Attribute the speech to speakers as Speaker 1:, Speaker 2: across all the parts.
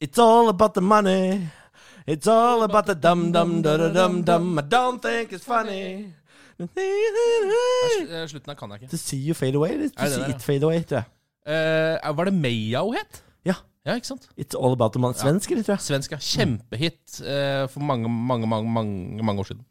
Speaker 1: It's all about the money. It's all about the dum dum da da dum dum. I don't think it's funny.
Speaker 2: Nei, sl- eh, Slutten her kan jeg ikke.
Speaker 1: To see you fade away. Eller to
Speaker 2: Er det
Speaker 1: see
Speaker 2: det, ja?
Speaker 1: it fade away, tror jeg.
Speaker 2: Eh, var det Meia hun het?
Speaker 1: Ja.
Speaker 2: Ja, ikke sant?
Speaker 1: It's all about the money. Svensk, eller, tror jeg.
Speaker 2: Svensk, ja. Kjempehit eh, for mange, mange, mange, mange, mange år siden.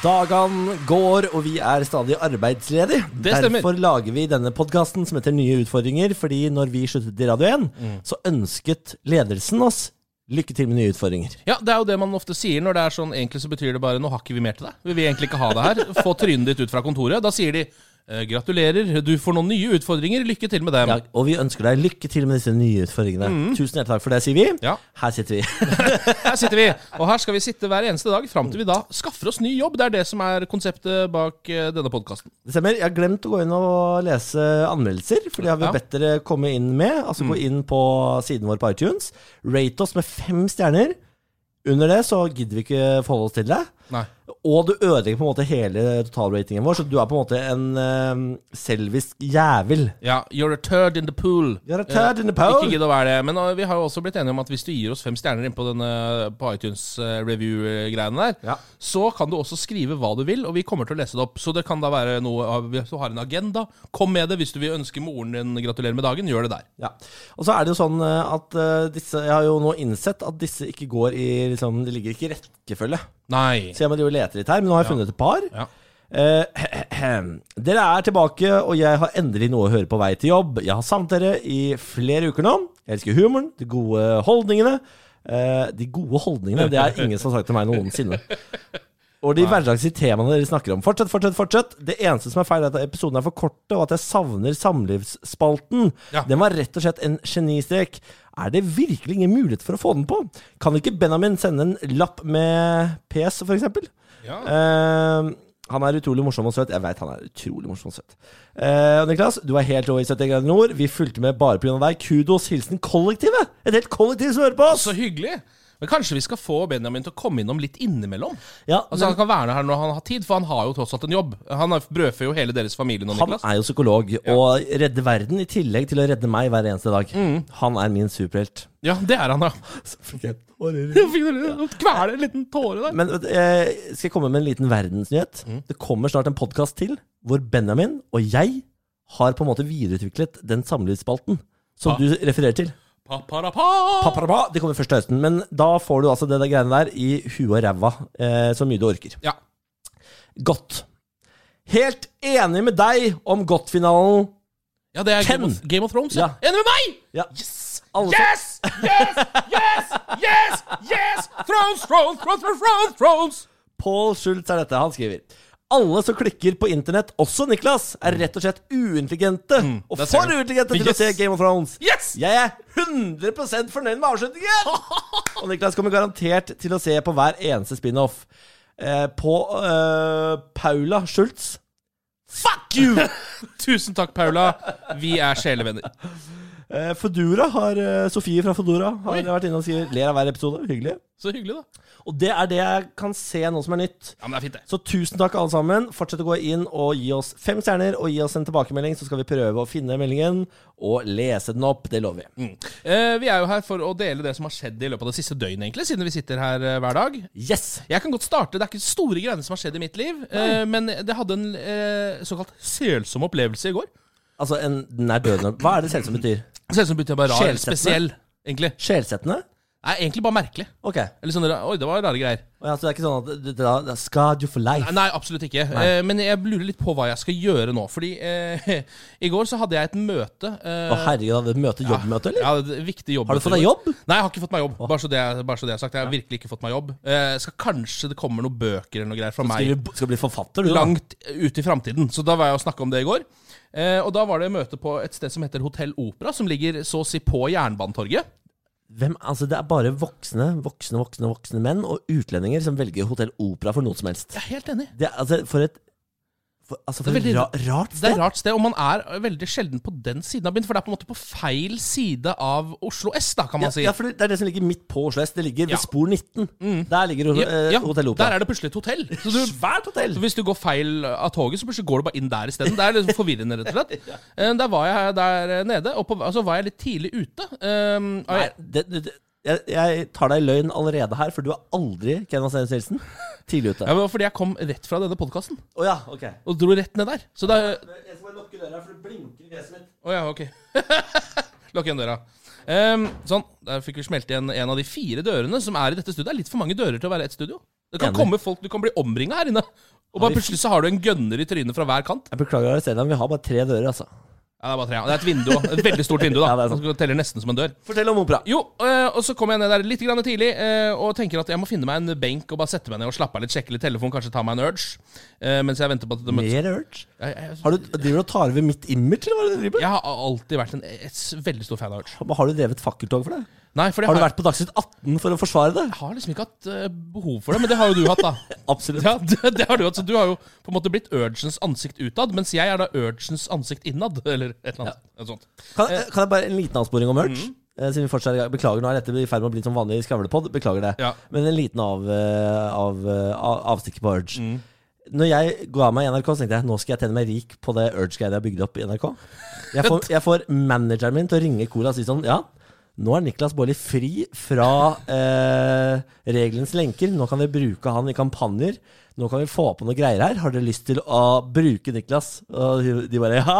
Speaker 1: Dagene går, og vi er stadig arbeidsledige.
Speaker 2: Det stemmer.
Speaker 1: Derfor lager vi denne podkasten som heter Nye utfordringer. Fordi når vi sluttet i Radio 1,
Speaker 2: Mm.
Speaker 1: så ønsket ledelsen oss lykke til med nye utfordringer.
Speaker 2: Ja, det er jo det man ofte sier når det er sånn Egentlig så betyr det bare 'nå har ikke vi mer til deg'. Vi vil egentlig ikke ha deg her. Få trynet ditt ut fra kontoret. Da sier de eh, 'gratulerer, du får noen nye utfordringer. Lykke til med dem'.
Speaker 1: Ja, og vi ønsker deg lykke til med disse nye utfordringene. Tusen hjertelig takk for det, sier vi.
Speaker 2: Mm. Ja.
Speaker 1: Her sitter vi.
Speaker 2: Her sitter vi, og her skal vi sitte hver eneste dag fram til vi da skaffer oss ny jobb. Det er det som er konseptet bak eh, denne podkasten.
Speaker 1: Det stemmer. Jeg har glemt å gå inn og lese anmeldelser, for det har vi
Speaker 2: Ja. Mm.
Speaker 1: bedt dere komme inn med. Altså gå inn på siden vår på iTunes. Rate oss med fem stjerner. Under det så gidder vi ikke forholde oss til det.
Speaker 2: Nei.
Speaker 1: Og du ødelegger på en måte hele totalratingen vår, så du er på en måte en eh, selvisk jævel.
Speaker 2: Ja, you're a turd in the pool.
Speaker 1: You're a turd in the
Speaker 2: Eh,
Speaker 1: pool.
Speaker 2: Ikke gidd å være det. Men eh, vi har jo også blitt enige om at hvis du gir oss fem stjerner inn på, denne- eh, på iTunes-review-greiene der,
Speaker 1: Ja.
Speaker 2: så kan du også skrive hva du vil, og vi kommer til å lese det opp. Så det kan da være noe av- Hvis du har en agenda, kom med det. Hvis du vil ønske moren din gratulerer med dagen, gjør det der.
Speaker 1: Ja. Og så er det jo sånn eh, at eh, disse Jeg har jo nå innsett at disse ikke går i liksom, De ligger ikke i rekkefølge.
Speaker 2: Nei.
Speaker 1: Så jeg må drive og lete litt her, men nå har jeg funnet et par.
Speaker 2: Ja.
Speaker 1: Eh, dere er tilbake, og jeg har endelig noe å høre på vei til jobb. Jeg har savnet dere i flere uker nå. Jeg elsker humoren, de gode holdningene. Eh, de gode holdningene, det er ingen som har sagt til meg noensinne. Og de hverdagslige temaene dere snakker om. Fortsett, fortsett, fortsett. Det eneste som er feil, er at episoden er for korte, og at jeg savner samlivsspalten.
Speaker 2: Ja.
Speaker 1: Den var rett og slett en genistrek. Er det virkelig ingen mulighet for å få den på? Kan ikke Benjamin sende en lapp med PS, for eksempel?
Speaker 2: Ja.
Speaker 1: Eh, han er utrolig morsom og søt. Jeg veit han er utrolig morsom og søt. Eh, Niklas, du er helt rå i 70 grader nord. Vi fulgte med bare pga. deg. Kudos. Hilsen kollektivet. Et helt kollektiv som hører på oss!
Speaker 2: Så hyggelig. Men kanskje vi skal få Benjamin til å komme innom litt innimellom?
Speaker 1: Ja,
Speaker 2: Altså
Speaker 1: men
Speaker 2: Han kan være her når han har tid, for han har jo tross alt en jobb. Han er- brødfør jo hele deres familie nå,
Speaker 1: han
Speaker 2: Niklas.
Speaker 1: er jo psykolog og redder verden i tillegg til å redde meg hver eneste dag.
Speaker 2: Mm.
Speaker 1: Han er min superhelt.
Speaker 2: Ja, det er han, ja.
Speaker 1: Men
Speaker 2: Kveler en liten tåre der.
Speaker 1: eh, skal jeg komme med en liten verdensnyhet?
Speaker 2: Mm.
Speaker 1: Det kommer snart en podkast til hvor Benjamin og jeg har på en måte videreutviklet den samlivsspalten som
Speaker 2: Ah.
Speaker 1: du refererer til.
Speaker 2: Pa-pa-ra-pa!
Speaker 1: Paparapa, det kommer først til høsten, men da får du altså det der greiene der i huet og ræva eh, så mye du orker.
Speaker 2: Ja.
Speaker 1: Godt. Helt enig med deg om godt-finalen.
Speaker 2: ja, det er Game
Speaker 1: Ken.
Speaker 2: of, Game of Thrones. Ja.
Speaker 1: Ja.
Speaker 2: Enig med meg!
Speaker 1: Ja.
Speaker 2: Yes!
Speaker 1: Alle som-
Speaker 2: Yes! Yes! Yes! Yes! Yes! Thrones, Thrones, Thrones, Thrones, Thrones! thrones.
Speaker 1: Paul Schultz er dette, han skriver. Alle som klikker på internett, også Niklas, er rett og slett uintelligente. og
Speaker 2: der Mm, ser
Speaker 1: for
Speaker 2: du.
Speaker 1: uintelligente til
Speaker 2: Yes.
Speaker 1: å se Game of Thrones.
Speaker 2: Yes!
Speaker 1: Jeg er 100 fornøyd med avslutningen! Og Niklas kommer garantert til å se på hver eneste spin-off. Eh, på eh, Paula Schultz. Fuck you!
Speaker 2: Tusen takk, Paula. Vi er sjelevenner.
Speaker 1: Eh, Fodora har eh, Sofie fra Fodora har vært inne og skriver ler av hver episode. Hyggelig.
Speaker 2: Så hyggelig, da.
Speaker 1: Og det er det jeg kan se nå som er nytt.
Speaker 2: Ja, men det er fint, det.
Speaker 1: Så tusen takk, alle sammen. Fortsett å gå inn og gi oss fem stjerner og gi oss en tilbakemelding, så skal vi prøve å finne meldingen og lese den opp. Det lover vi.
Speaker 2: Eh, vi er jo her for å dele det som har skjedd i løpet av det siste døgnet, egentlig, siden vi sitter her eh, hver dag.
Speaker 1: Yes!
Speaker 2: Jeg kan godt starte. Det er ikke store greiene som har skjedd i mitt liv, eh, men det hadde en eh, såkalt selsom opplevelse i går.
Speaker 1: Altså, en, den er døende. Hva er det selv som betyr?
Speaker 2: Selsom betyr bare rar,
Speaker 1: Sjelsettende.
Speaker 2: spesiell, egentlig.
Speaker 1: Sjelsettende?
Speaker 2: Nei, egentlig bare merkelig.
Speaker 1: Ok.
Speaker 2: Eller sånn, Oi, det var rare greier.
Speaker 1: Og altså, det er ikke sånn at det, det, det er scarred you for life?
Speaker 2: Nei, absolutt ikke. Eh, men jeg lurer litt på hva jeg skal gjøre nå. Fordi eh, i går så hadde jeg et møte. eh,
Speaker 1: Å, herregud, hadde du møte jobbmøte, eller?
Speaker 2: Ja, det er et viktig jobb.
Speaker 1: Har du fått deg jobb?
Speaker 2: Nei, jeg har ikke fått meg jobb. Bare så det, er- bare så det er sagt. Jeg har virkelig ikke fått meg jobb. Eh, skal kanskje det kommer noen bøker eller noe greier fra meg.
Speaker 1: Skal du, skal du bli forfatter, du? da?
Speaker 2: langt ut i framtiden. Så da var jeg og snakka om det i går. Eh, og da var det møte på et sted som heter Hotell Opera, som ligger så å si på Jernbanetorget.
Speaker 1: Hvem, altså Det er bare voksne voksne, voksne, voksne menn og utlendinger som velger Hotell Opera for noe som helst.
Speaker 2: Jeg er helt enig.
Speaker 1: Det, er- altså, for et for, altså,
Speaker 2: Det
Speaker 1: for
Speaker 2: er veldig-
Speaker 1: et ra, rart
Speaker 2: Det er
Speaker 1: sted.
Speaker 2: et rart sted, og man er veldig sjelden på den siden av byen. For det er på en måte på feil side av Oslo S, da, kan
Speaker 1: Ja,
Speaker 2: man si.
Speaker 1: ja, for det det er det som ligger midt på Oslo S. Det ligger ved
Speaker 2: Ja. Mm.
Speaker 1: spor 19. Der ligger ho- eh, Hotell
Speaker 2: der
Speaker 1: Opera.
Speaker 2: er det plutselig et hotell. Så du,
Speaker 1: Svært hotell!
Speaker 2: så hvis du går feil av toget, så plutselig går du bare inn der isteden. Det er litt forvirrende, rett og slett. Eh, Der var jeg der nede, og på, altså var jeg litt tidlig ute. Um,
Speaker 1: Nei, det, det, det, jeg, jeg tar deg i løgn allerede her, for du er aldri Kenneth Sens Nilsen. Tidlig ute.
Speaker 2: Ja, men fordi jeg kom rett fra denne podkasten
Speaker 1: Å ja, ok.
Speaker 2: og dro rett ned der. Så da
Speaker 1: Jeg skal bare lukke døra, for det blinker i gresset mitt.
Speaker 2: Å ja, ok. Lukk igjen døra. Ehm, sånn, der fikk vi smelt igjen en av de fire dørene som er i dette studioet. Det er litt for mange dører til å være ett studio. Det kan
Speaker 1: Enig.
Speaker 2: komme folk, Du kan bli omringa her inne. Og bare
Speaker 1: vi-
Speaker 2: plutselig så har du en gønner i trynet fra hver kant.
Speaker 1: Jeg beklager å arrestere deg, men vi har bare tre dører, altså.
Speaker 2: Ja, Det er bare tre. Det er et vindu. også. Et veldig stort vindu. da.
Speaker 1: Ja, det er sant.
Speaker 2: Man teller nesten som en dør.
Speaker 1: Fortell om opera.
Speaker 2: Jo, eh, og så kom jeg ned der litt grann tidlig eh, og tenker at jeg må finne meg en benk og bare sette meg ned og slappe av litt, sjekke litt telefon, kanskje ta meg en urge. eh, Mens jeg venter på at det møtes.
Speaker 1: Mer urge?
Speaker 2: Jeg, jeg,
Speaker 1: Har du, driver du og tar over mitt image, eller hva er det du driver med?
Speaker 2: jeg har alltid vært en et, s- veldig stor fan av urge.
Speaker 1: Men Har du drevet fakkeltog for det?
Speaker 2: Nei, for jeg
Speaker 1: Har du
Speaker 2: har,
Speaker 1: vært på Dagsnytt 18 for å forsvare det?
Speaker 2: jeg har liksom ikke hatt eh, behov for det, men det har jo du hatt, da.
Speaker 1: Absolutt.
Speaker 2: Ja, det, det har Du hatt, så du har jo på en måte blitt urgens ansikt utad, mens jeg er da urgens ansikt innad. Eller et eller annet et sånt.
Speaker 1: Kan, eh, kan jeg bare en liten avsporing om merch? Eh, Siden vi fortsatt er i gang. Beklager, nå er dette i ferd med å bli som vanlig skravlepod. Beklager det.
Speaker 2: Ja.
Speaker 1: Men en liten av, eh, av, eh, av, avstikker på Urge. Når jeg ga meg i NRK, så tenkte jeg nå skal jeg tjene meg rik på det Urge-greia jeg har bygd opp i NRK. Jeg får, jeg får manageren min til å ringe Cola og si sånn Ja, nå er Niklas Baarli fri fra eh, regelens lenker. Nå kan vi bruke han i kampanjer. Nå kan vi få på noe greier her. Har dere lyst til å bruke Niklas? Og de- de bare ja.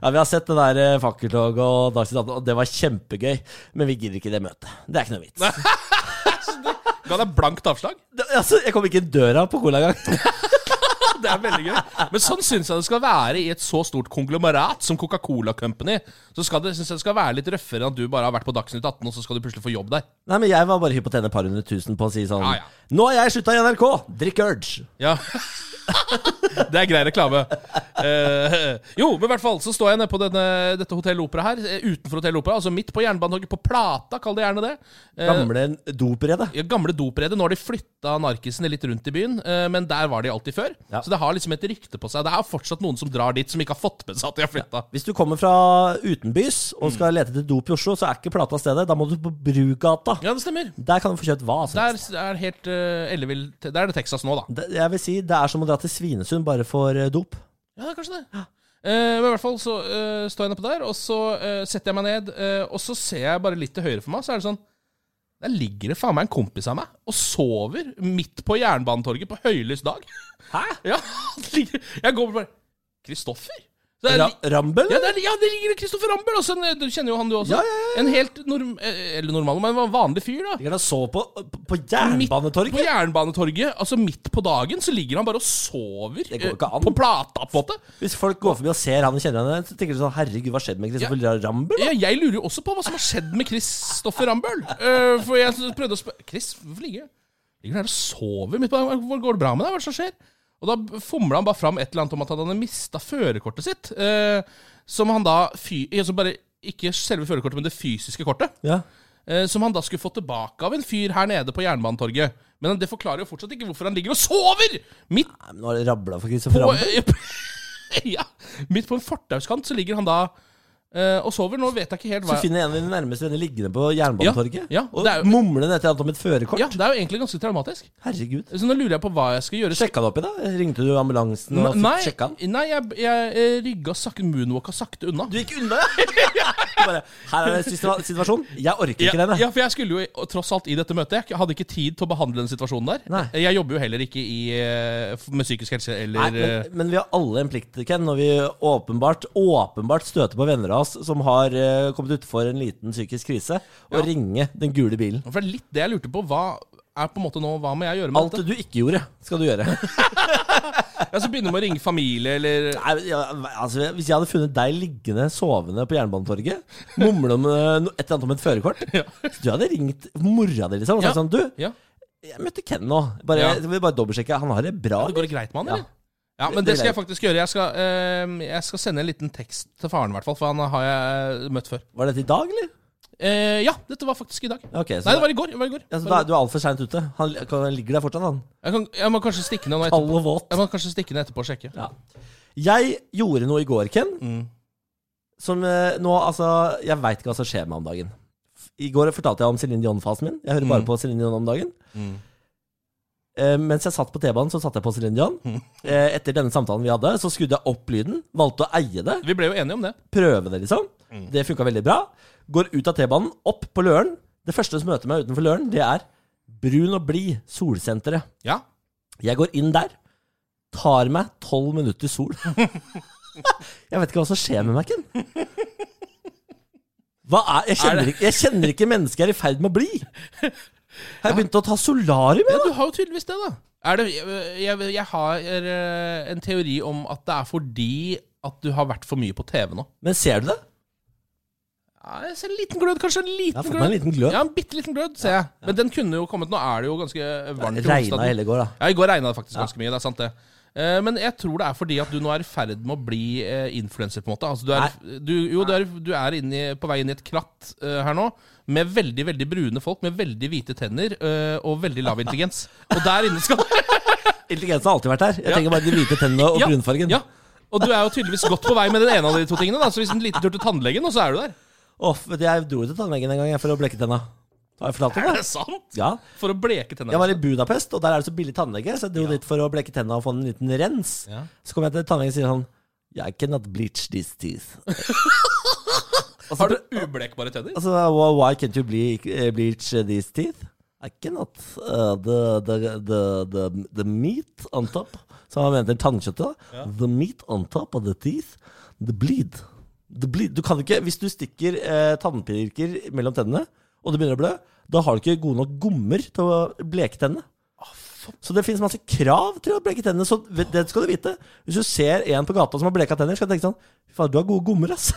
Speaker 1: ja vi har sett det der eh, fakkeltoget og Dagsnytt 18, og det var kjempegøy. Men vi gidder ikke det møtet. Det er ikke noe vits.
Speaker 2: Ga deg blankt avslag?
Speaker 1: Det, altså, jeg kom ikke inn døra på Cola engang.
Speaker 2: Det er veldig gøy. Men sånn syns jeg det skal være i et så stort konglomerat som Coca-Cola Company. Så skal det, synes jeg det skal være litt røffere enn at du bare har vært på Dagsnytt 18, og så skal du plutselig få jobb der.
Speaker 1: Nei, men jeg var bare hypp på å tjene et par hundre tusen på å si sånn
Speaker 2: Ja, ja.
Speaker 1: Nå har jeg slutta i NRK! Drikk Urge!
Speaker 2: Ja. Det er grei reklame. Eh, jo, men i hvert fall så står jeg nede på denne, dette Hotell Opera her, eh, utenfor Hotell Opera, altså midt på Jernbanetorget, på Plata, kall det gjerne det. Eh,
Speaker 1: Gamle dopredet.
Speaker 2: ja, gamle dopredet. Nå har de flytta narkisene litt rundt i byen, eh, men der var de alltid før.
Speaker 1: Ja.
Speaker 2: Så det har liksom et rykte på seg. Det er fortsatt noen som drar dit, som ikke har fått med seg at de har flytta.
Speaker 1: Hvis du kommer fra utenbys
Speaker 2: Mm.
Speaker 1: og skal lete etter dop i Oslo, så er ikke Plata stedet. Da må du på Brugata.
Speaker 2: Ja, det stemmer.
Speaker 1: Der kan du få kjøpt hva som
Speaker 2: Der
Speaker 1: helst.
Speaker 2: er, det helt, eh, ellevill- der er det Texas nå, da.
Speaker 1: Det- Jeg vil si det er som å dra til Svinesund bare for eh, dop.
Speaker 2: Ja, det er kanskje det. Eh, men i hvert fall så eh, står jeg nedpå der, og så eh, setter jeg meg ned, eh, og så ser jeg bare litt til høyre for meg, så er det sånn Der ligger det faen meg en kompis av meg og sover midt på Jernbanetorget på høylys dag.
Speaker 1: Hæ?
Speaker 2: Ja, han ligger Jeg går bort og bare Kristoffer? Det er,
Speaker 1: Ra Rambøll?
Speaker 2: ja, det er, ja, det ligger Kristoffer Rambøll også. en- Du kjenner jo han, du også.
Speaker 1: Ja, ja, ja,
Speaker 2: En helt norm... eh, Eller normal, men en vanlig fyr, da.
Speaker 1: Ligger han og så på, på, på
Speaker 2: Midt På
Speaker 1: Jernbanetorget?
Speaker 2: Jernbanetorget, altså midt på dagen, så ligger han bare og sover.
Speaker 1: Det går
Speaker 2: eh,
Speaker 1: ikke an.
Speaker 2: På plata, på en måte.
Speaker 1: Hvis folk går forbi og ser han og kjenner han, så tenker de sånn Herregud, hva skjedde med Kristoffer Rambøll?
Speaker 2: Ja, jeg lurer jo også på hva som har skjedd med Kristoffer Rambøll. Eh, for jeg prøvde å spørre Chris, hvorfor ligger du Ligger du der og sover midt på dagen? Hvor Går det bra med deg? Hva er det som skjer? Og da fomla han bare fram et eller annet om at han hadde mista førerkortet sitt. eh, som han da fy, altså bare, Ikke selve førerkortet, men det fysiske kortet.
Speaker 1: Ja.
Speaker 2: eh, som han da skulle få tilbake av en fyr her nede på Jernbanetorget. Men det forklarer jo fortsatt ikke hvorfor han ligger og sover midt
Speaker 1: Nei, men nå har det rabla for Kristoffer
Speaker 2: på,
Speaker 1: Rambøll.
Speaker 2: eh, ja, midt på en fortauskant så ligger han da eh, og sover. Nå vet jeg ikke helt hva
Speaker 1: Så finner en av dine nærmeste venner liggende på Jernbanetorget
Speaker 2: Ja, ja,
Speaker 1: og
Speaker 2: det er jo-
Speaker 1: mumlende et eller annet om et førerkort.
Speaker 2: Ja, det er jo egentlig ganske traumatisk.
Speaker 1: Herregud.
Speaker 2: Så nå lurer jeg på hva jeg skal gjøre.
Speaker 1: Sjekka han opp i dag? Ringte du ambulansen og
Speaker 2: nei,
Speaker 1: fikk sjekka han?
Speaker 2: nei, jeg, jeg eh, rygga sakte, moonwalka sakte unna.
Speaker 1: Du gikk unna, ja! Du bare, Her er det situa- situasjon. Jeg orker ikke
Speaker 2: ja,
Speaker 1: denne.
Speaker 2: ja, for jeg skulle jo i- tross alt i dette møtet. Jeg hadde ikke tid til å behandle den situasjonen der.
Speaker 1: Nei.
Speaker 2: Jeg jobber jo heller ikke i, eh, f- med psykisk helse eller
Speaker 1: Nei,
Speaker 2: eh,
Speaker 1: men, men vi har alle en plikt, Ken, når vi åpenbart, åpenbart støter på venner av oss som har eh, kommet utfor en liten psykisk krise, å ringe den gule bilen.
Speaker 2: eh, For det er litt det jeg lurte på. Hva er på en måte nå, hva må jeg gjøre med
Speaker 1: Alt
Speaker 2: dette?
Speaker 1: det du ikke gjorde, skal du gjøre.
Speaker 2: Jeg skal begynne med å ringe familie eller
Speaker 1: Nei, men, ja, altså, hvis jeg hadde funnet deg liggende sovende på Jernbanetorget, mumle om eh, no- et eller annet om et førerkort
Speaker 2: Ja.
Speaker 1: Du hadde ringt mora di liksom, og sagt
Speaker 2: Ja.
Speaker 1: sånn Du,
Speaker 2: ja.
Speaker 1: jeg møtte Ken nå. Bare,
Speaker 2: Ja.
Speaker 1: jeg vil bare dobbeltsjekke. Han har det bra.
Speaker 2: Det går det greit med han,
Speaker 1: Ja.
Speaker 2: eller? Ja,
Speaker 1: Det-
Speaker 2: men
Speaker 1: det
Speaker 2: det skal jeg
Speaker 1: vil
Speaker 2: faktisk gjøre. Jeg skal, eh, jeg skal sende en liten tekst til faren, i hvert fall, for han har jeg møtt før.
Speaker 1: Var dette i dag, eller?
Speaker 2: Eh, ja, dette var faktisk i dag.
Speaker 1: Ok, så,
Speaker 2: Nei, det var i går. Det var i går.
Speaker 1: ja, så da,
Speaker 2: Det var i går.
Speaker 1: Du er altfor seint ute. Han, han ligger der fortsatt, han.
Speaker 2: Jeg, kan, jeg må kanskje stikke ned nå etterpå.
Speaker 1: Kald og våt.
Speaker 2: Jeg må kanskje stikke ned etterpå og sjekke.
Speaker 1: Ja. Jeg gjorde noe i går, Ken. Som eh, nå, altså Jeg veit ikke hva som skjer med meg om dagen. F- I går fortalte jeg om Céline Dion-fasen min. Jeg hører bare på Céline Dion om dagen. Eh, mens jeg satt på T-banen, så satt jeg på Céline Dion. Eh, etter denne samtalen vi hadde, så skrudde jeg opp lyden. Valgte å eie det.
Speaker 2: Vi ble jo enige om det.
Speaker 1: Prøve det, liksom. Det funka veldig bra. Går ut av T-banen, opp på Løren. Det første som møter meg utenfor Løren, det er Brun og blid, Solsenteret.
Speaker 2: Ja.
Speaker 1: Jeg går inn der, tar meg tolv minutter sol. jeg vet ikke hva som skjer med meg, Ken. Hva er, jeg,
Speaker 2: Er
Speaker 1: kjenner
Speaker 2: det-
Speaker 1: ikke, jeg kjenner ikke mennesket jeg er i ferd med å bli. Har jeg begynt å ta solarium?
Speaker 2: ja,
Speaker 1: Jeg, da?
Speaker 2: du har jo tydeligvis det, da. Er det, jeg, jeg, jeg har eh, en teori om at det er fordi at du har vært for mye på TV nå.
Speaker 1: Men ser du det?
Speaker 2: Ja, jeg ser en liten glød, kanskje. En
Speaker 1: Jeg
Speaker 2: liten
Speaker 1: har fått
Speaker 2: glød.
Speaker 1: meg en liten glød.
Speaker 2: Ja, en bitte liten glød, ser jeg. Men den kunne jo kommet. Nå er det jo ganske varmt i
Speaker 1: Regna
Speaker 2: hovedstaden.
Speaker 1: hele går, da.
Speaker 2: Ja, i går regna det faktisk ganske mye. Det er sant, det. Eh, Men jeg tror det er fordi at du nå er i ferd med å bli eh, influenser, på en måte. Altså, du er, du, jo, du er, du er inne, i- på vei inn i et klatt eh, her nå med veldig veldig brune folk med veldig hvite tenner eh, og veldig lav intelligens. Og der inne skal
Speaker 1: Intelligens har alltid vært her. Jeg tenker bare de hvite tennene og
Speaker 2: Ja,
Speaker 1: brunfargen.
Speaker 2: Ja. Og du er jo tydeligvis godt på vei med den ene av de to tingene. Da. Så hvis en liten tur til tannlegen, og så er du der.
Speaker 1: Åh, vet du, jeg dro til tannlegen en gang jeg, for å blekke tenna. Har jeg fortalt om det?
Speaker 2: Er det sant?
Speaker 1: Ja.
Speaker 2: For å bleke tennene.
Speaker 1: Jeg var i Budapest, og der er det så billig tannlege, så jeg dro dit for å bleke tenna og få en liten rens.
Speaker 2: Ja.
Speaker 1: Så kom jeg til tannlegen og sier sånn I cannot bleach these teeth. og så,
Speaker 2: Har du ublekbare tenner?
Speaker 1: altså, why why can't you ble eh, bleach these teeth? I cannot. Uh, the, the, the, the, the meat on top. Så han mente tannkjøttet. da. The meat on top of the teeth. The bleed. The bleed. Du kan ikke, hvis du stikker eh, tannpirker mellom tennene, og det begynner å blø, da har du ikke gode nok gommer til å bleke tennene. Så det finnes masse krav til å bleke tennene. Så vet- det skal du vite. Hvis du ser en på gata som har bleka tenner, skal du tenke sånn Fy faen, du har gode gommer, ass.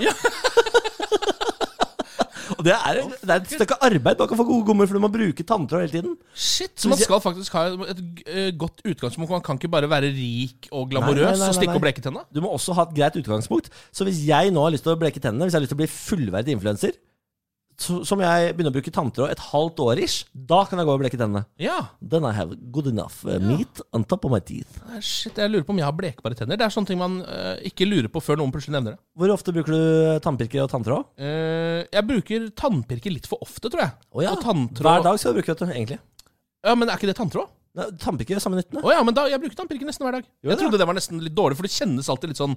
Speaker 1: og det er, det er et stykke arbeid bak å få gode gommer, for du må bruke tanntråd hele tiden.
Speaker 2: Shit,
Speaker 1: altså,
Speaker 2: Så man skal faktisk ha et eh, godt utgangspunkt. Man kan ikke bare være rik og glamorøs
Speaker 1: Nei, nei, nei,
Speaker 2: og stikke
Speaker 1: nei.
Speaker 2: og bleke tenna.
Speaker 1: Du må også ha et greit utgangspunkt. Så hvis jeg nå har lyst til å bleke tennene, hvis jeg har lyst til å bli fullverdig influenser, så, som jeg begynner å bruke tanntråd et halvt år ish, da kan jeg gå og bleke tennene.
Speaker 2: Ja.
Speaker 1: Then I have good enough uh, meat on top of my teeth.
Speaker 2: Nei, Shit, jeg lurer på om jeg har blekbare tenner. Det er sånne ting man eh, ikke lurer på før noen plutselig nevner det.
Speaker 1: Hvor ofte bruker du tannpirker og tanntråd?
Speaker 2: Eh, jeg bruker tannpirker litt for ofte, tror jeg.
Speaker 1: Å ja.
Speaker 2: Og tanntråd
Speaker 1: Hver dag skal du bruke, vet du, egentlig.
Speaker 2: Ja, Men er ikke det tanntråd?
Speaker 1: Nei, Tannpirker er samme nyttene.
Speaker 2: Å ja, men da, jeg bruker tannpirker nesten hver dag. jeg trodde det var nesten litt dårlig, for det kjennes alltid litt sånn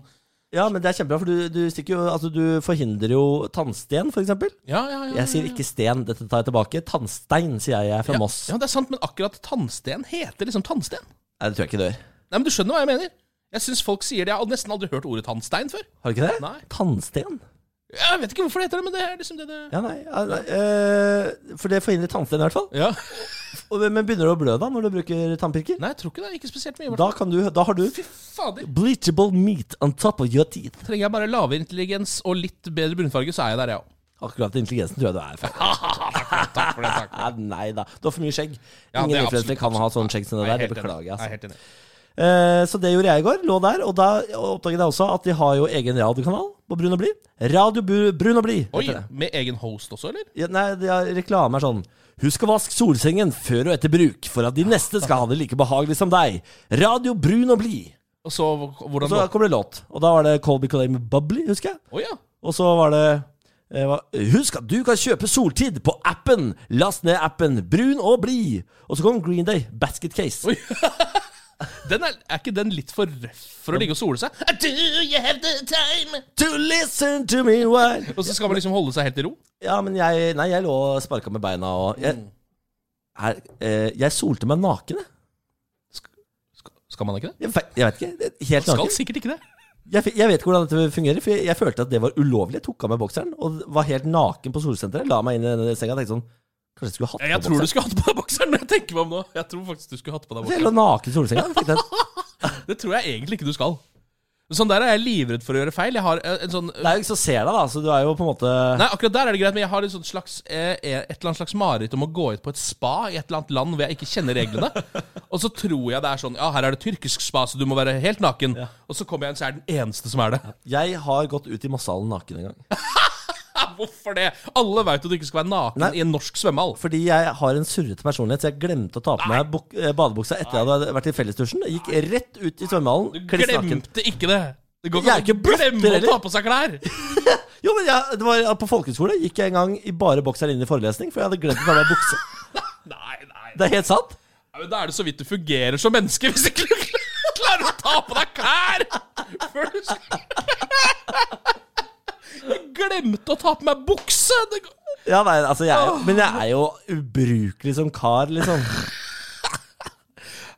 Speaker 1: Ja, men det er kjempebra, for du, du, stikker jo, altså, du forhindrer jo tannsten, for eksempel.
Speaker 2: Ja, ja, ja.
Speaker 1: Jeg sier ikke sten, dette tar jeg tilbake. Tannstein, sier jeg. Jeg er fra Moss.
Speaker 2: Ja, det er sant, men akkurat tannsten heter liksom tannsten.
Speaker 1: Nei, det tror jeg ikke du gjør.
Speaker 2: Nei, men du skjønner hva jeg mener? Jeg syns folk sier det. Jeg har nesten aldri hørt ordet tannstein før.
Speaker 1: Har du ikke det?
Speaker 2: Nei.
Speaker 1: Tannsten?
Speaker 2: Jeg vet ikke hvorfor det heter det, men det er liksom det det
Speaker 1: Ja, nei. Ja, nei. eh, for det forhindrer tannsten, i hvert fall.
Speaker 2: Ja.
Speaker 1: Og, men begynner du å blø da, når du bruker tannpirker?
Speaker 2: Nei, jeg tror ikke det. Ikke spesielt mye. i hvert
Speaker 1: Da, kan du, da har du
Speaker 2: fall. Fy fader.
Speaker 1: bleachable meat on top of your teeth.
Speaker 2: Trenger jeg bare lavere intelligens og litt bedre brunfarge, så er jeg der, jeg òg.
Speaker 1: Akkurat intelligensen tror jeg du er fra.
Speaker 2: Takk for det. takk for det.
Speaker 1: Nei, nei da. Du har for mye skjegg.
Speaker 2: Ja,
Speaker 1: Ingen
Speaker 2: det er
Speaker 1: influensere
Speaker 2: absolutt-
Speaker 1: kan ha sånn skjegg som det
Speaker 2: Jeg
Speaker 1: der.
Speaker 2: er
Speaker 1: Det
Speaker 2: helt enig.
Speaker 1: beklager jeg.
Speaker 2: Jeg er
Speaker 1: Altså.
Speaker 2: helt enig.
Speaker 1: Eh, Så det gjorde jeg i går. Lå der. Og da oppdaget jeg også at de har jo egen radiokanal på Brun og blid. Radio Bu- Brun og blid.
Speaker 2: Oi,
Speaker 1: heter det.
Speaker 2: med egen host også, eller?
Speaker 1: Ja, nei, de har reklame er sånn Husk å vaske solsengen før og etter bruk, for at de neste skal ha det like behagelig som deg. Radio Brun og blid.
Speaker 2: Og så hvordan
Speaker 1: Så
Speaker 2: Å
Speaker 1: kommer det låt. Og da var det Colby Claim Bubbly, husker jeg.
Speaker 2: ja.
Speaker 1: Og så var det eh, hva- Husk at du kan kjøpe soltid på appen! Last ned appen Brun og blid! Og så kom Green Day, Basket Case.
Speaker 2: Oi. Den er, er ikke den litt for røff for å ligge og sole seg? Do you have the time?
Speaker 1: To listen to me while
Speaker 2: Og så skal man liksom holde seg helt i ro?
Speaker 1: Ja, men jeg Nei, jeg lå og sparka med beina og Jeg,
Speaker 2: Mm.
Speaker 1: her, eh, jeg solte meg naken, jeg.
Speaker 2: Skal, skal man ikke det?
Speaker 1: Jeg fe- jeg vet ikke. det- Helt
Speaker 2: Skal
Speaker 1: naken.
Speaker 2: sikkert ikke det.
Speaker 1: Jeg, fe- jeg vet ikke hvordan dette fungerer, for jeg, jeg følte at det var ulovlig. Jeg tok av meg bokseren og var helt naken på solsenteret. La meg inn i denne senga og tenkte sånn Kanskje jeg skulle hatt på
Speaker 2: Jeg, jeg tror du skulle hatt på deg bokseren, når jeg tenker meg om nå. Jeg tror faktisk du skulle hatt på
Speaker 1: Så
Speaker 2: deg
Speaker 1: jeg lå
Speaker 2: bokseren.
Speaker 1: naken i solsenga. Fikk den.
Speaker 2: Det tror jeg egentlig ikke du skal. Sånn der er jeg livredd for å gjøre feil. Jeg har eh, en sånn
Speaker 1: Det er jo ikke så ser deg, da, så du er jo på en måte
Speaker 2: Nei, akkurat der er det greit, men jeg har et, sånt slags, eh, et eller annet slags mareritt om å gå ut på et spa i et eller annet land hvor jeg ikke kjenner reglene. og så tror jeg det er sånn Ja, her er det tyrkisk spa, så du må være helt naken. Og så kommer jeg inn, så er jeg den eneste som er det.
Speaker 1: Jeg har gått ut i Mosshallen naken en gang.
Speaker 2: Ja, hvorfor det? Alle veit at du ikke skal være naken
Speaker 1: Nei.
Speaker 2: i en norsk svømmehall.
Speaker 1: Fordi jeg har en surrete personlighet, så jeg glemte å ta på meg buk- eh, badebuksa etter jeg hadde vært i fellesdusjen. Jeg gikk rett ut i svømmehallen, kliss naken.
Speaker 2: Glemte ikke det! Det går
Speaker 1: Jeg er ikke bløtt,
Speaker 2: glemme å
Speaker 1: heller.
Speaker 2: ta på seg klær!
Speaker 1: Jo, men jeg, det var På folkehøyskole gikk jeg en gang i bare bokser inn i forelesning, for jeg hadde glemt å ta meg bukse.
Speaker 2: Nei, nei.
Speaker 1: Det er helt sant.
Speaker 2: Ja, men da er det så vidt du fungerer som menneske, hvis ikke du klarer å ta på deg klær! Før du Jeg glemte å ta på meg bukse! Det går-
Speaker 1: Ja, nei, altså, jeg, er jo- men jeg er jo ubrukelig som kar, liksom.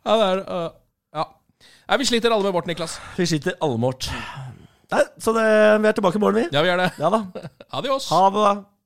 Speaker 2: Ja, det er øh, Ja. Nei, vi sliter alle med vårt, Niklas.
Speaker 1: Vi sitter alle mort. Nei, så det, vi er tilbake i morgen, vi.
Speaker 2: Ja, vi gjør det.
Speaker 1: Ja da.
Speaker 2: Adios.
Speaker 1: Ha det, da.